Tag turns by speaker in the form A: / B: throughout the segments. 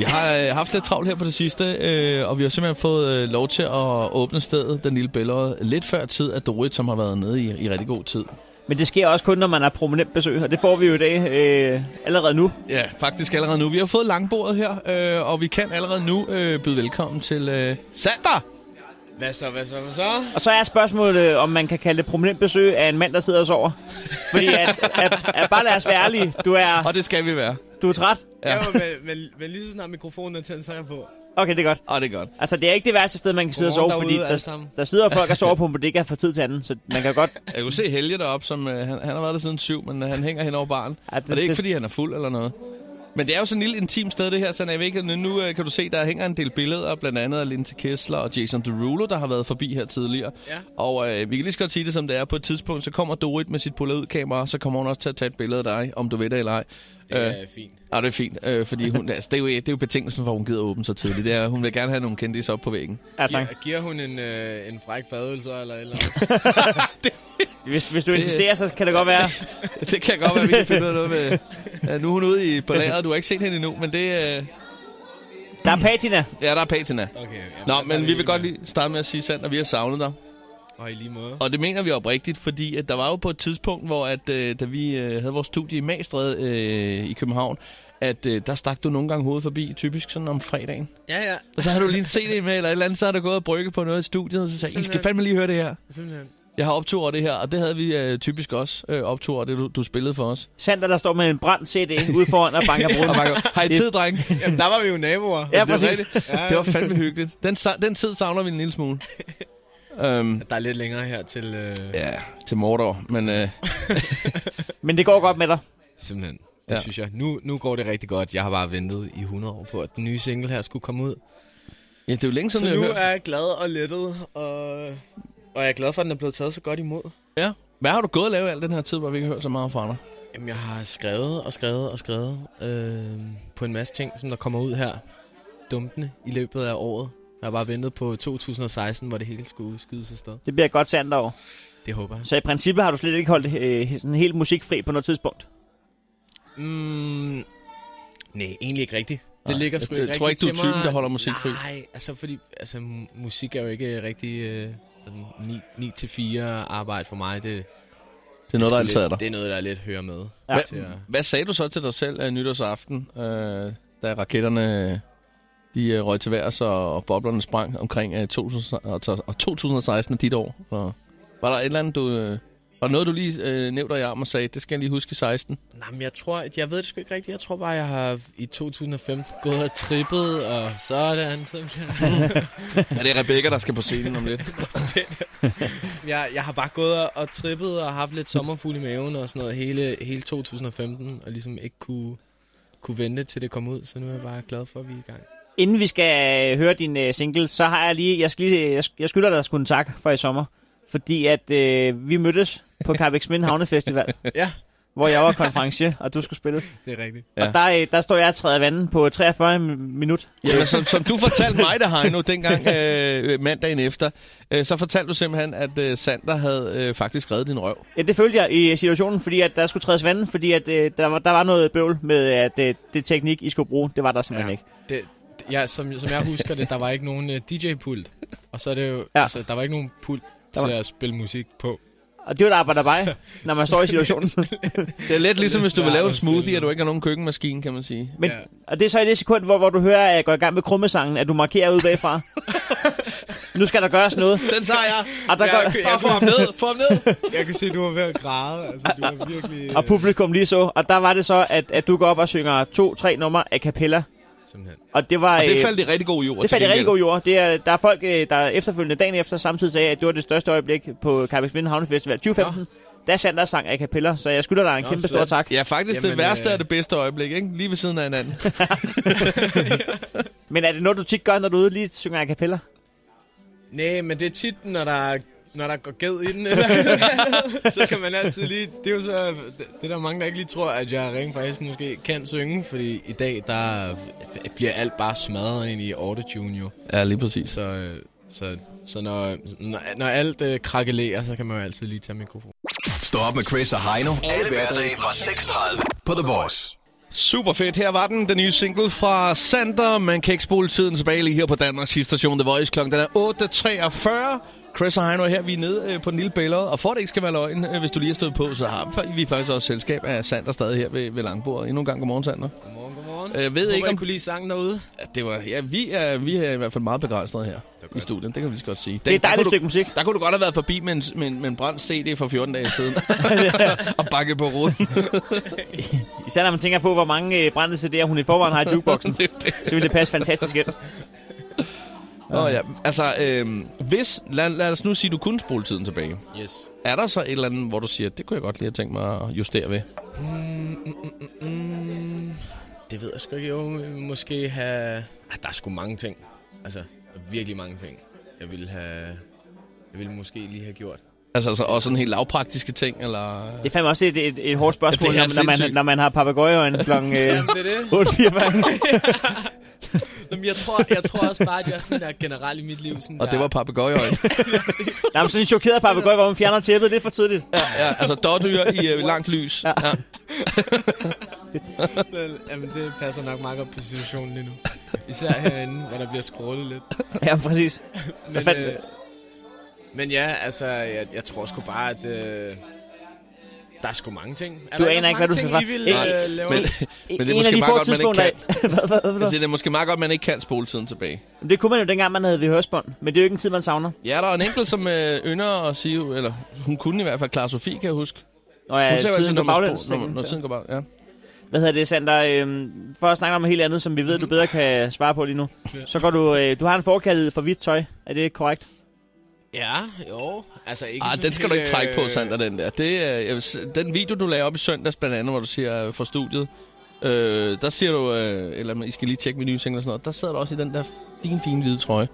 A: Jeg har øh, haft lidt travlt her på det sidste, øh, og vi har simpelthen fået øh, lov til at åbne stedet, den lille bælger, lidt før tid af Dorit, som har været nede i, i rigtig god tid.
B: Men det sker også kun, når man har prominent besøg, og det får vi jo i dag øh, allerede nu.
A: Ja, faktisk allerede nu. Vi har fået langbordet her, øh, og vi kan allerede nu øh, byde velkommen til øh, Sander.
C: Hvad så, hvad så, hvad så?
B: Og så er spørgsmålet, øh, om man kan kalde det prominent besøg af en mand, der sidder og sover. Fordi at, at, at bare lad os være ærlige, du er,
A: Og det skal vi være.
B: du er træt.
A: Ja.
C: Ja, jo, men, men, men lige så snart mikrofonen er tændt, så er jeg på.
B: Okay, det er godt.
A: Og det er godt.
B: Altså, det er ikke det værste sted, man kan sidde og sove,
C: Godmorgen
B: fordi
C: derude, alle
B: der,
C: sammen.
B: der sidder folk og sover på en bodega fra tid til anden, så man kan godt...
A: Jeg kunne se Helge deroppe, som øh, han, han har været der siden syv, men øh, han hænger hen over baren.
B: Ja, det-
A: og det er ikke,
B: det-
A: fordi han er fuld eller noget. Men det er jo sådan et lille intimt sted, det her, så jeg ved ikke, nu øh, kan du se, der hænger en del billeder, blandt andet af Lindsay Kessler og Jason Derulo, der har været forbi her tidligere.
C: Ja.
A: Og øh, vi kan lige så godt sige det, som det er. På et tidspunkt, så kommer Dorit med sit polaroid-kamera, så kommer hun også til at tage et billede af dig, om du ved det eller ej. Øh,
C: Det er fint.
A: og det er fint, øh, fordi hun, altså, det, er jo, det er jo betingelsen for, at hun gider åbne så tidligt. Det er, hun vil gerne have nogle kendte op på væggen.
B: Ja, tak.
C: Giver, giver hun en, øh, en fræk fadøl så, eller et eller andet?
B: Hvis, hvis du insisterer, så kan det godt være...
A: Det kan godt være, vi kan finde ud af noget med... Ja, nu er hun ude i på lageret, du har ikke set hende endnu, men det... Øh,
B: Der er patina.
A: ja, der er patina.
C: Okay. Jamen,
A: Nå,
C: så er
A: men vi
C: en,
A: vil godt
C: øh,
A: lige starte med at sige sandt, at vi har savnet dig.
C: Og i lige måde.
A: Og det mener vi oprigtigt, fordi at der var jo på et tidspunkt, hvor at, øh, da vi øh, havde vores studie i Magstred øh, i København, at øh, der stak du nogle gange hovedet forbi, typisk sådan om fredagen.
C: Ja, ja.
A: Og så havde du lige en CD med, eller et eller andet, så havde du gået og brygget på noget i studiet, og så sagde, I skal
C: Simpelthen.
A: fandme lige høre det her.
C: Simpelthen.
A: Jeg har optur over det her, og det havde vi øh, typisk også øh, optur over det, du, du spillede for os.
B: Sander, der står med en brændt CD ude foran og banker
A: Og
B: bruden.
A: Marco, har I tid, dreng?
C: Jamen, der var vi jo naboer.
B: Ja,
A: det var
B: præcis.
A: rigtigt. Det var fandme hyggeligt. Den, sa- den tid savner vi en lille smule. Øhm,
C: Der er lidt længere her til... Øh, ja.
A: ja, til Mordor, men øh,
B: Men det går godt med dig.
C: Simpelthen. Det
A: Ja.
C: ja. synes jeg. Nu, nu går det rigtig godt. Jeg har bare ventet i 100 år på, at den nye single her skulle komme ud.
A: ja, det er jo længe
C: Så
A: siden,
C: nu
A: jeg har hørt.
C: er jeg glad og lettet, og, og jeg er glad for, at den er blevet taget så godt imod.
A: Ja. Hvad har du gået og lavet al den her tid, hvor vi ikke har hørt så meget fra dig?
C: Jamen, jeg har skrevet og skrevet og skrevet øh, på en masse ting, som der kommer ud her. Dumpende i løbet af året. Jeg har bare ventet på 2016, hvor det hele skulle skydes afsted.
B: Det bliver et godt Sander over.
C: Det håber jeg.
B: Så i princippet har du slet ikke holdt øh, sådan helt musikfri på noget tidspunkt.
C: Mm, nej, egentlig ikke rigtigt. Det ligger sgu
A: jeg
C: ikke
A: tror
C: rigtigt
A: ikke, du er
C: til mig.
A: typen, der holder musik fri.
C: Nej, altså fordi altså, mu- musik er jo ikke rigtig øh, sådan 9-4 arbejde for mig. Det,
A: Det er noget, der
C: sgu
A: altid er
C: lidt-
A: der.
C: Det er noget, der er lidt hører med.
B: Ja.
C: Til at-
A: Hvad sagde du så til dig selv øh, nytårsaften, øh, da raketterne øh, de øh, røg til værs, og, og boblerne sprang omkring øh, 2000, og, og 2016 er dit år? Og, var der et eller andet, du... Øh, var der noget, du lige øh, nævnte dig i armen og sagde, det skal jeg lige huske i 16?
C: Nej, men jeg tror, at jeg ved det sgu ikke rigtigt. Jeg tror bare, jeg har i 2015 gået og trippet og sådan. sådan.
A: Ja, det er Rebecca, der skal på scenen om lidt.
C: jeg, jeg har bare gået og, og trippet og haft lidt sommerfugl i maven og sådan noget hele, hele 2015. Og ligesom ikke kunne, kunne vente til det kom ud. Så nu er jeg bare glad for, at vi er i gang.
B: Inden vi skal øh, høre din øh, single, så har jeg lige, jeg, skal lige, jeg, sk- jeg skylder dig sgu en tak for i sommer. Fordi at øh, vi mødtes på Carbex Mind Havnefestival,
C: Ja,
B: hvor jeg var konferencier, og du skulle spille.
C: det er rigtigt.
A: Ja.
B: Ja. Og der, øh, der står jeg og træder i vandet på 43 mi- minut.
A: Ja, som, som du fortalte mig, der Heino, dengang øh, mandagen efter, øh, så fortalte du simpelthen, at øh, Sander havde øh, faktisk reddet din røv.
B: Ja, det følte jeg i situationen, fordi at der skulle trædes vandet, fordi at, øh, der, var, der var noget bøvl med, at øh, det teknik, I skulle bruge, det var der simpelthen ja.
C: Ja.
B: ikke.
C: Det, ja, som, som jeg husker det, der var ikke nogen øh, DJ-pult. Og så er det jo,
B: Ja.
C: ja. altså, der var ikke nogen pult
B: Der
C: til
B: var-
C: at spille musik på.
B: Og det var der arbejder bare, når man står i situationen.
A: Det er lidt ligesom,
C: lidt
A: hvis du vil lave en
C: svært at spille
A: smoothie, og
C: med.
A: du ikke har nogen køkkenmaskine, kan man sige.
B: Men, ja.
C: Ja.
B: Og det er så i det sekund, hvor, hvor du hører, at jeg går i gang med krummesangen, at du markerer ud bagfra. nu skal der gøres noget.
A: Den tager jeg!
B: Og, Ah, der
C: Ja,
B: går,
C: okay.
A: Bare få ham ned! Få ham ned!
C: Jeg kan se, du var ved at græde. Altså, du var virkelig...
B: og publikum lige så. Og der var det så, at, at du går op og synger to-tre numre af Capella.
C: Simpelthen.
B: Og det var...
A: Og det
B: øh,
A: faldt i rigtig god jord.
B: det
A: til
B: faldt i rigtig
A: gengæld.
B: god jord. Det er, der er folk, øh, der efterfølgende dagen efter samtidig sagde, at det var det største øjeblik på Carbex Vind Havnefestival 2015. Der sandt der sang af Capella, så jeg skylder dig en
C: Nå,
B: kæmpe stor
C: slet.
B: tak.
A: Ja, faktisk Jamen, det
C: Jamen,
A: værste
C: øh,
A: er det bedste øjeblik, ikke? Lige ved siden af hinanden.
B: Men er det noget, du tit gør, når du er ude lige synger af Capella?
C: Nej, men det er tit, når der, når der går ged i den, eller- så kan man altid lige... Det er jo så... Det, det er der mange, der ikke lige tror, at jeg rent faktisk måske kan synge, fordi i dag, der bliver alt bare smadret ind i autotune jo.
A: Ja, lige præcis.
C: Så, øh, så, så når, når, når alt øh, krakelerer, så kan man jo altid lige tage mikrofonen.
D: Stå op med Chris og Heino. Alle hverdage fra 6.30 på The Voice.
A: Super fedt. Her var den, den nye single fra Sander. Man kan ikke spole tiden tilbage lige her på Danmarks station The Voice. Klokken den er 8.43. Chris og Heino er her. Vi er nede øh, på den lille billede. Og for at det ikke skal være løgn, øh, hvis du lige har stået på, så har vi faktisk også selskab af Sander stadig her ved, ved langbordet. Endnu en gang godmorgen, Sander.
C: Godmorgen, godmorgen.
A: Øh, ved
C: Håber,
A: ikke,
C: I
A: om-
C: kunne lide sangen derude.
A: Ja, Det var, ja, vi, er, vi er i hvert fald meget begejstrede her i studiet. Det kan vi lige så godt sige.
B: Det er et
A: der,
B: dejligt
A: kunne
B: stykke musik.
A: du, der kunne du godt have været forbi med en, med en, med en brændt CD for 14 dage siden. og banket på ruden.
B: Især når man tænker på, hvor mange øh, brændte CD'er hun i forvejen har i jukeboxen.
A: det, er det.
B: så vil det passe fantastisk ind.
A: Nå ja, altså, øh, hvis, lad, lad os nu sige, du kunne spole tiden tilbage.
C: Yes.
A: Er der så et eller andet, hvor du siger, det kunne jeg godt lige have tænkt mig at justere ved?
C: Mm, det ved jeg sgu ikke. Jo, måske have... Ah, der er sgu mange ting. Altså, virkelig mange ting. Jeg ville have... Jeg ville måske lige have gjort.
A: Altså, altså også sådan helt lavpraktiske ting, eller...
B: Det er fandme også et, et, et hårdt spørgsmål,
A: Ja, det
B: ja,
A: er
B: når, når, man,
A: sindssygt.
B: når man har papegøjeøjne klokken øh,
C: Jamen, det er det.
B: 8.44.
C: Jamen, jeg, tror, jeg tror også bare, at jeg er sådan der generelt i mit liv. Sådan
A: Og
C: der,
A: det var papegøjeøjne.
B: Der er sådan en chokeret papegøje, hvor man fjerner tæppet. Det er for tidligt.
A: ja, altså dårdyr i uh, langt lys. Ja. ja.
C: Jamen, det passer nok meget godt på situationen lige nu. Især herinde, hvor der bliver scrollet lidt.
B: Ja, præcis.
C: Men,
B: fandt-
C: øh, men ja, altså, jeg, jeg tror sgu bare, at... Øh, der er sgu mange ting. Er
B: Du
C: der
B: aner
C: ellers
B: ikke, hvad du skal
C: mange
B: svare.
C: ting, I vil,
B: Ikke-
C: øh, lave
A: Men, men det er måske meget godt, man ikke kan.
B: hvad, hvad, hvad,
A: Jeg
B: hvad?
A: siger, det er måske meget godt, man ikke kan spole tiden tilbage.
B: Det kunne man jo dengang, man havde ved hørespånd. Men det er jo ikke en tid, man savner.
A: Ja, der er en enkelt, som øh, ynder at sige, eller hun kunne i hvert fald klare Sofie, kan jeg huske. Hun
B: Når jeg
A: ser altså jo altid,
B: tiden
A: når,
B: på
A: man
B: baglæns.
A: spol, når, når tiden går bag. Ja.
B: Hvad hedder det, Sander? Øhm, for at snakke om noget helt andet, som vi ved, du bedre kan svare på lige nu. Så går du, øh, du har en forkærlighed for hvidt tøj. Er det korrekt?
C: Ja, jo. Altså ikke
A: Ej,
C: sådan
A: Ah, den skal
C: helt,
A: du ikke trække på,
C: øh,
A: Sander, den der. Det, øh, jeg vil, s- den video, du lagde op i søndags, blandt andet, hvor du siger øh, fra studiet, øh, der siger du, øh, eller I skal lige tjekke min nye single og sådan noget, der sidder du også i den der fine, fine hvide trøje.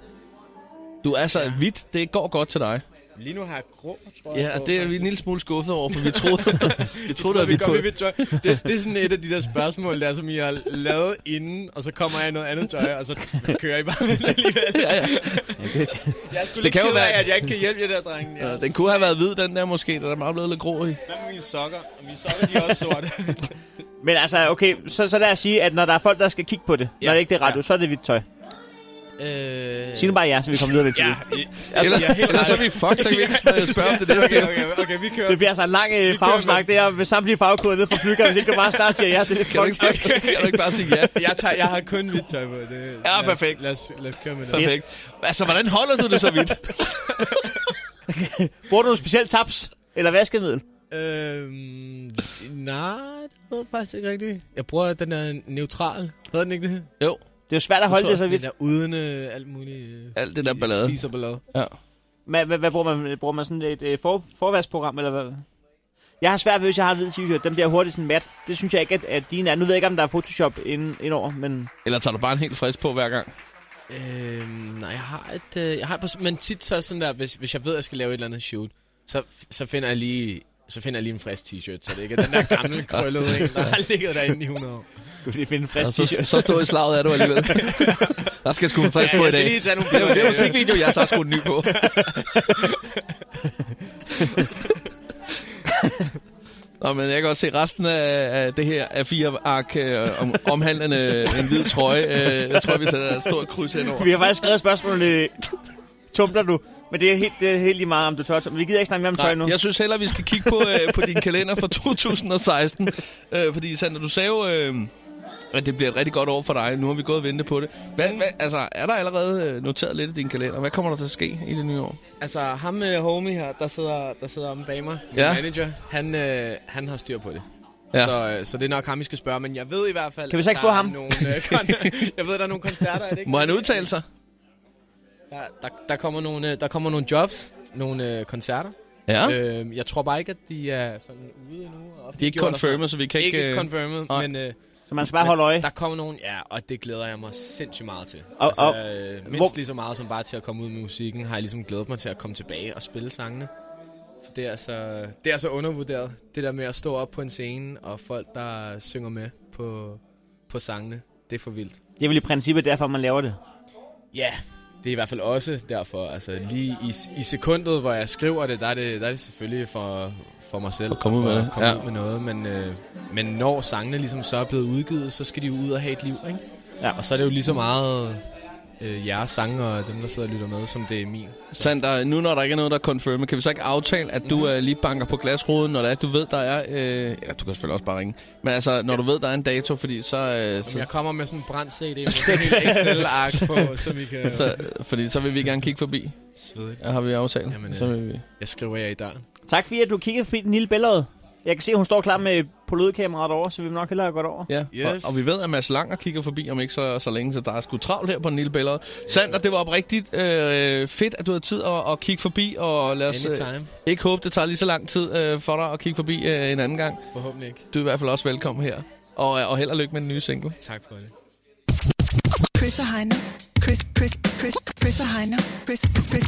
A: Du er så ja. hvidt, det går godt til dig.
C: Lige nu har jeg grå, tror jeg.
A: Ja,
C: på.
A: det er vi en lille smule skuffet over, for vi troede, vi
C: Jeg tror,
A: troede, at vi
C: vi går
A: kunne...
C: med hvidt tøj. Det, det er sådan et af de der spørgsmål, der som I har lavet inden, og så kommer jeg i noget andet tøj, og så kører I bare med det alligevel.
A: Ja, ja.
C: Jeg er sgu
A: Det
C: lidt
A: kan jo
C: ked af,
A: være-
C: at jeg ikke kan hjælpe jer der, drenge. Ja.
A: Øh, Den kunne have været hvid, den der måske, den er meget blevet lidt grå i.
C: Hvad med mine sokker? Og mine sokker, de er også sorte.
B: Men altså, okay, så, så lad os sige, at når der er folk, der skal kigge på det, ja. når det ikke det er radio, ja. så er det hvidt tøj.
C: øh...
B: Sig nu bare ja, så vi kommer videre med til
C: Ja,
B: ja.
C: i-
A: Eller,
C: altså, jeg er helt
A: eller så er vi
C: ret.
A: fucked, så kan vi ikke spørge om det
C: Okay,
A: næste.
C: okay, okay, vi kører.
B: Det bliver altså en lang øh, farvesnak, det er ved samtlige farvekoder nede fra flykker, hvis ikke du bare snart siger ja til det.
A: Kan du ikke, kan du ikke bare sige ja?
C: Jeg, tager, jeg har kun hvidt tøj på. Det,
A: Ja, perfekt.
C: Lad os, lad os, lad os køre med det.
A: Perfekt. Altså, hvordan holder du det så vidt?
B: Bruger du nogle specielle tabs? Eller vaskemiddel?
C: Øhm, nej, det ved jeg faktisk ikke rigtigt. Jeg bruger den der neutral. Hedder den ikke det?
A: Jo,
B: Det er jo svært at holde
A: tror
B: det så
C: Den
B: vidt.
C: der uden øh, alt muligt... Øh,
A: alt det der ballade.
C: Fis og ballade.
A: Ja.
B: Hvad, hvad, hvad bruger man? Bruger man sådan et øh, for, forvarsprogram, eller hvad? Jeg har svært ved, hvis jeg har en hvid t-shirt. Den bliver hurtigt sådan mat. Det synes jeg ikke, at, at din er. Nu ved jeg ikke, om der er Photoshop ind, indover, men...
A: Eller tager du bare en helt frisk på hver gang?
C: Øhm, nej, jeg har et... Øh, jeg har et par, men tit så er sådan der, hvis, hvis jeg ved, at jeg skal lave et eller andet shoot, så, så finder jeg lige... Så finder jeg lige en frisk t-shirt, så det ikke er den der gamle, krøllede en, der har ligget derinde i 100 år.
B: Skulle vi lige finde en frisk
A: Altså, så,
B: t-shirt?
A: så står i slaget af du alligevel. Der skal sgu en frisk på i
C: jeg
A: dag.
C: skal lige tage nogle
A: Det er jo- det er jo
C: billeder.
A: musikvideo, jeg tager sgu en ny på. Nå, men jeg kan godt se resten af, af det her af fire ark øh, om, omhandlende en hvid trøje. Øh, jeg tror, vi sætter et stort kryds henover.
B: Vi har faktisk skrevet spørgsmålene... Tumler du? Men det er helt, det er helt lige meget, om du tør tumle. Vi gider ikke snakke mere om tøj nu.
A: Nej, jeg synes heller, vi skal kigge på, øh, på din kalender for 2016. Øh, fordi Sander, du sagde jo, øh, at det bliver et rigtig godt år for dig. Nu har vi gået og ventet på det. Hvad, hvad, altså, er der allerede øh, noteret lidt i din kalender? Hvad kommer der til at ske i det nye år?
C: Altså, ham med homie her, der sidder, der sidder om bag mig, min
A: Ja.
C: ja. manager, han, øh, han har styr på det.
A: Ja.
C: Ja. Så, øh, så det er nok ham, I skal spørge, men jeg ved i hvert fald...
B: Kan vi så
C: at
B: ikke
C: der
B: få
C: er
B: ham?
C: Nogle, øh, kon- jeg ved, der er nogle koncerter, er det ikke?
A: Må han udtale sig?
C: Der, der, der, kommer, nogle, øh, der kommer nogle jobs, nogle øh, koncerter.
A: Ja. Øh,
C: Øh, jeg tror bare ikke, at de er sådan ude endnu. og
A: de er ikke
C: offentliggjort og sådan noget.
A: confirmed, så vi kan ikke...
C: Ikke
A: øh,
C: confirmed,
A: nej.
C: men øh,
B: Så man skal bare holde øje.
C: der kommer nogen, ja, og det glæder jeg mig sindssygt meget til.
B: Og-
C: altså,
B: og-
C: øh, mindst
B: hvor-
C: lige så meget som bare til at komme ud med musikken, har jeg ligesom glædet mig til at komme tilbage og spille sangene. For det er altså, det er så undervurderet, det der med at stå op på en scene, og folk, der synger med på, på sangene, det er for vildt.
B: Det er vel i princippet derfor, man laver det.
C: Ja, det er i hvert fald også derfor, altså lige i, i sekundet, hvor jeg skriver det, der er det, der er det selvfølgelig for, for mig selv.
A: For at komme
C: og
A: ud med
C: at
A: det,
C: komme
A: ja.
C: ud med noget, men, øh, men når sangene ligesom så er blevet udgivet, så skal de jo ud og have et liv, ikke?
B: Ja.
C: Og så er det jo lige så meget øh, jeres sange og dem, der sidder og lytter med, som det er min.
A: Sander, nu når der ikke er noget, der er confirmet, kan vi så ikke aftale, at du mm-hmm. lige banker på glasruden, når det er, du ved, der er... Øh, ja, du kan selvfølgelig også bare ringe. Men altså, når du ved, der er en dato, fordi så... Øh,
C: Om
A: så,
C: jeg kommer med sådan en brændt CD med sådan en hel Excel-ark på, så vi kan... Så.
A: så, fordi så vil vi gerne kigge forbi,
C: Svedigt.
A: har vi aftalt.
C: Jamen, øh,
A: så vil vi.
C: Jeg skriver jer i døren.
B: Tak fordi at du kiggede forbi den lille billede. Jeg kan se, at hun står klar med polydkameraet over, så vi vil nok hellere gå derover.
A: Ja, yes.
C: Yes.
A: og, og, vi ved, at Mads Langer kigger forbi om ikke så, så længe, så der er sgu travlt her på den lille billede. Sander, det var oprigtigt øh, fedt, at du havde tid at, at kigge forbi, og lad os øh,
C: Anytime.
A: ikke håbe, det tager lige så lang tid øh, for dig at kigge forbi øh, en anden gang.
C: Forhåbentlig ikke.
A: Du er i hvert fald også velkommen her, og, og held og lykke med den nye single.
C: Tak for det.
D: Chris og Heino. Chris, Chris, Chris, Chris og Heino. Chris, Chris, Chris,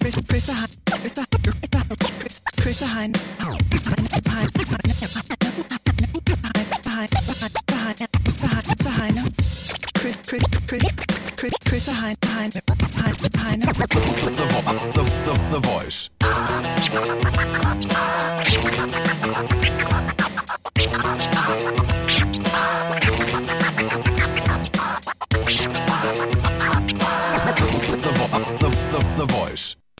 D: Chris og Heino. Chris, Chris, Chris og Heino. Chris, Chris, Chris, Chris, Chris og Heino. Heino, Heino.
E: The, vo- the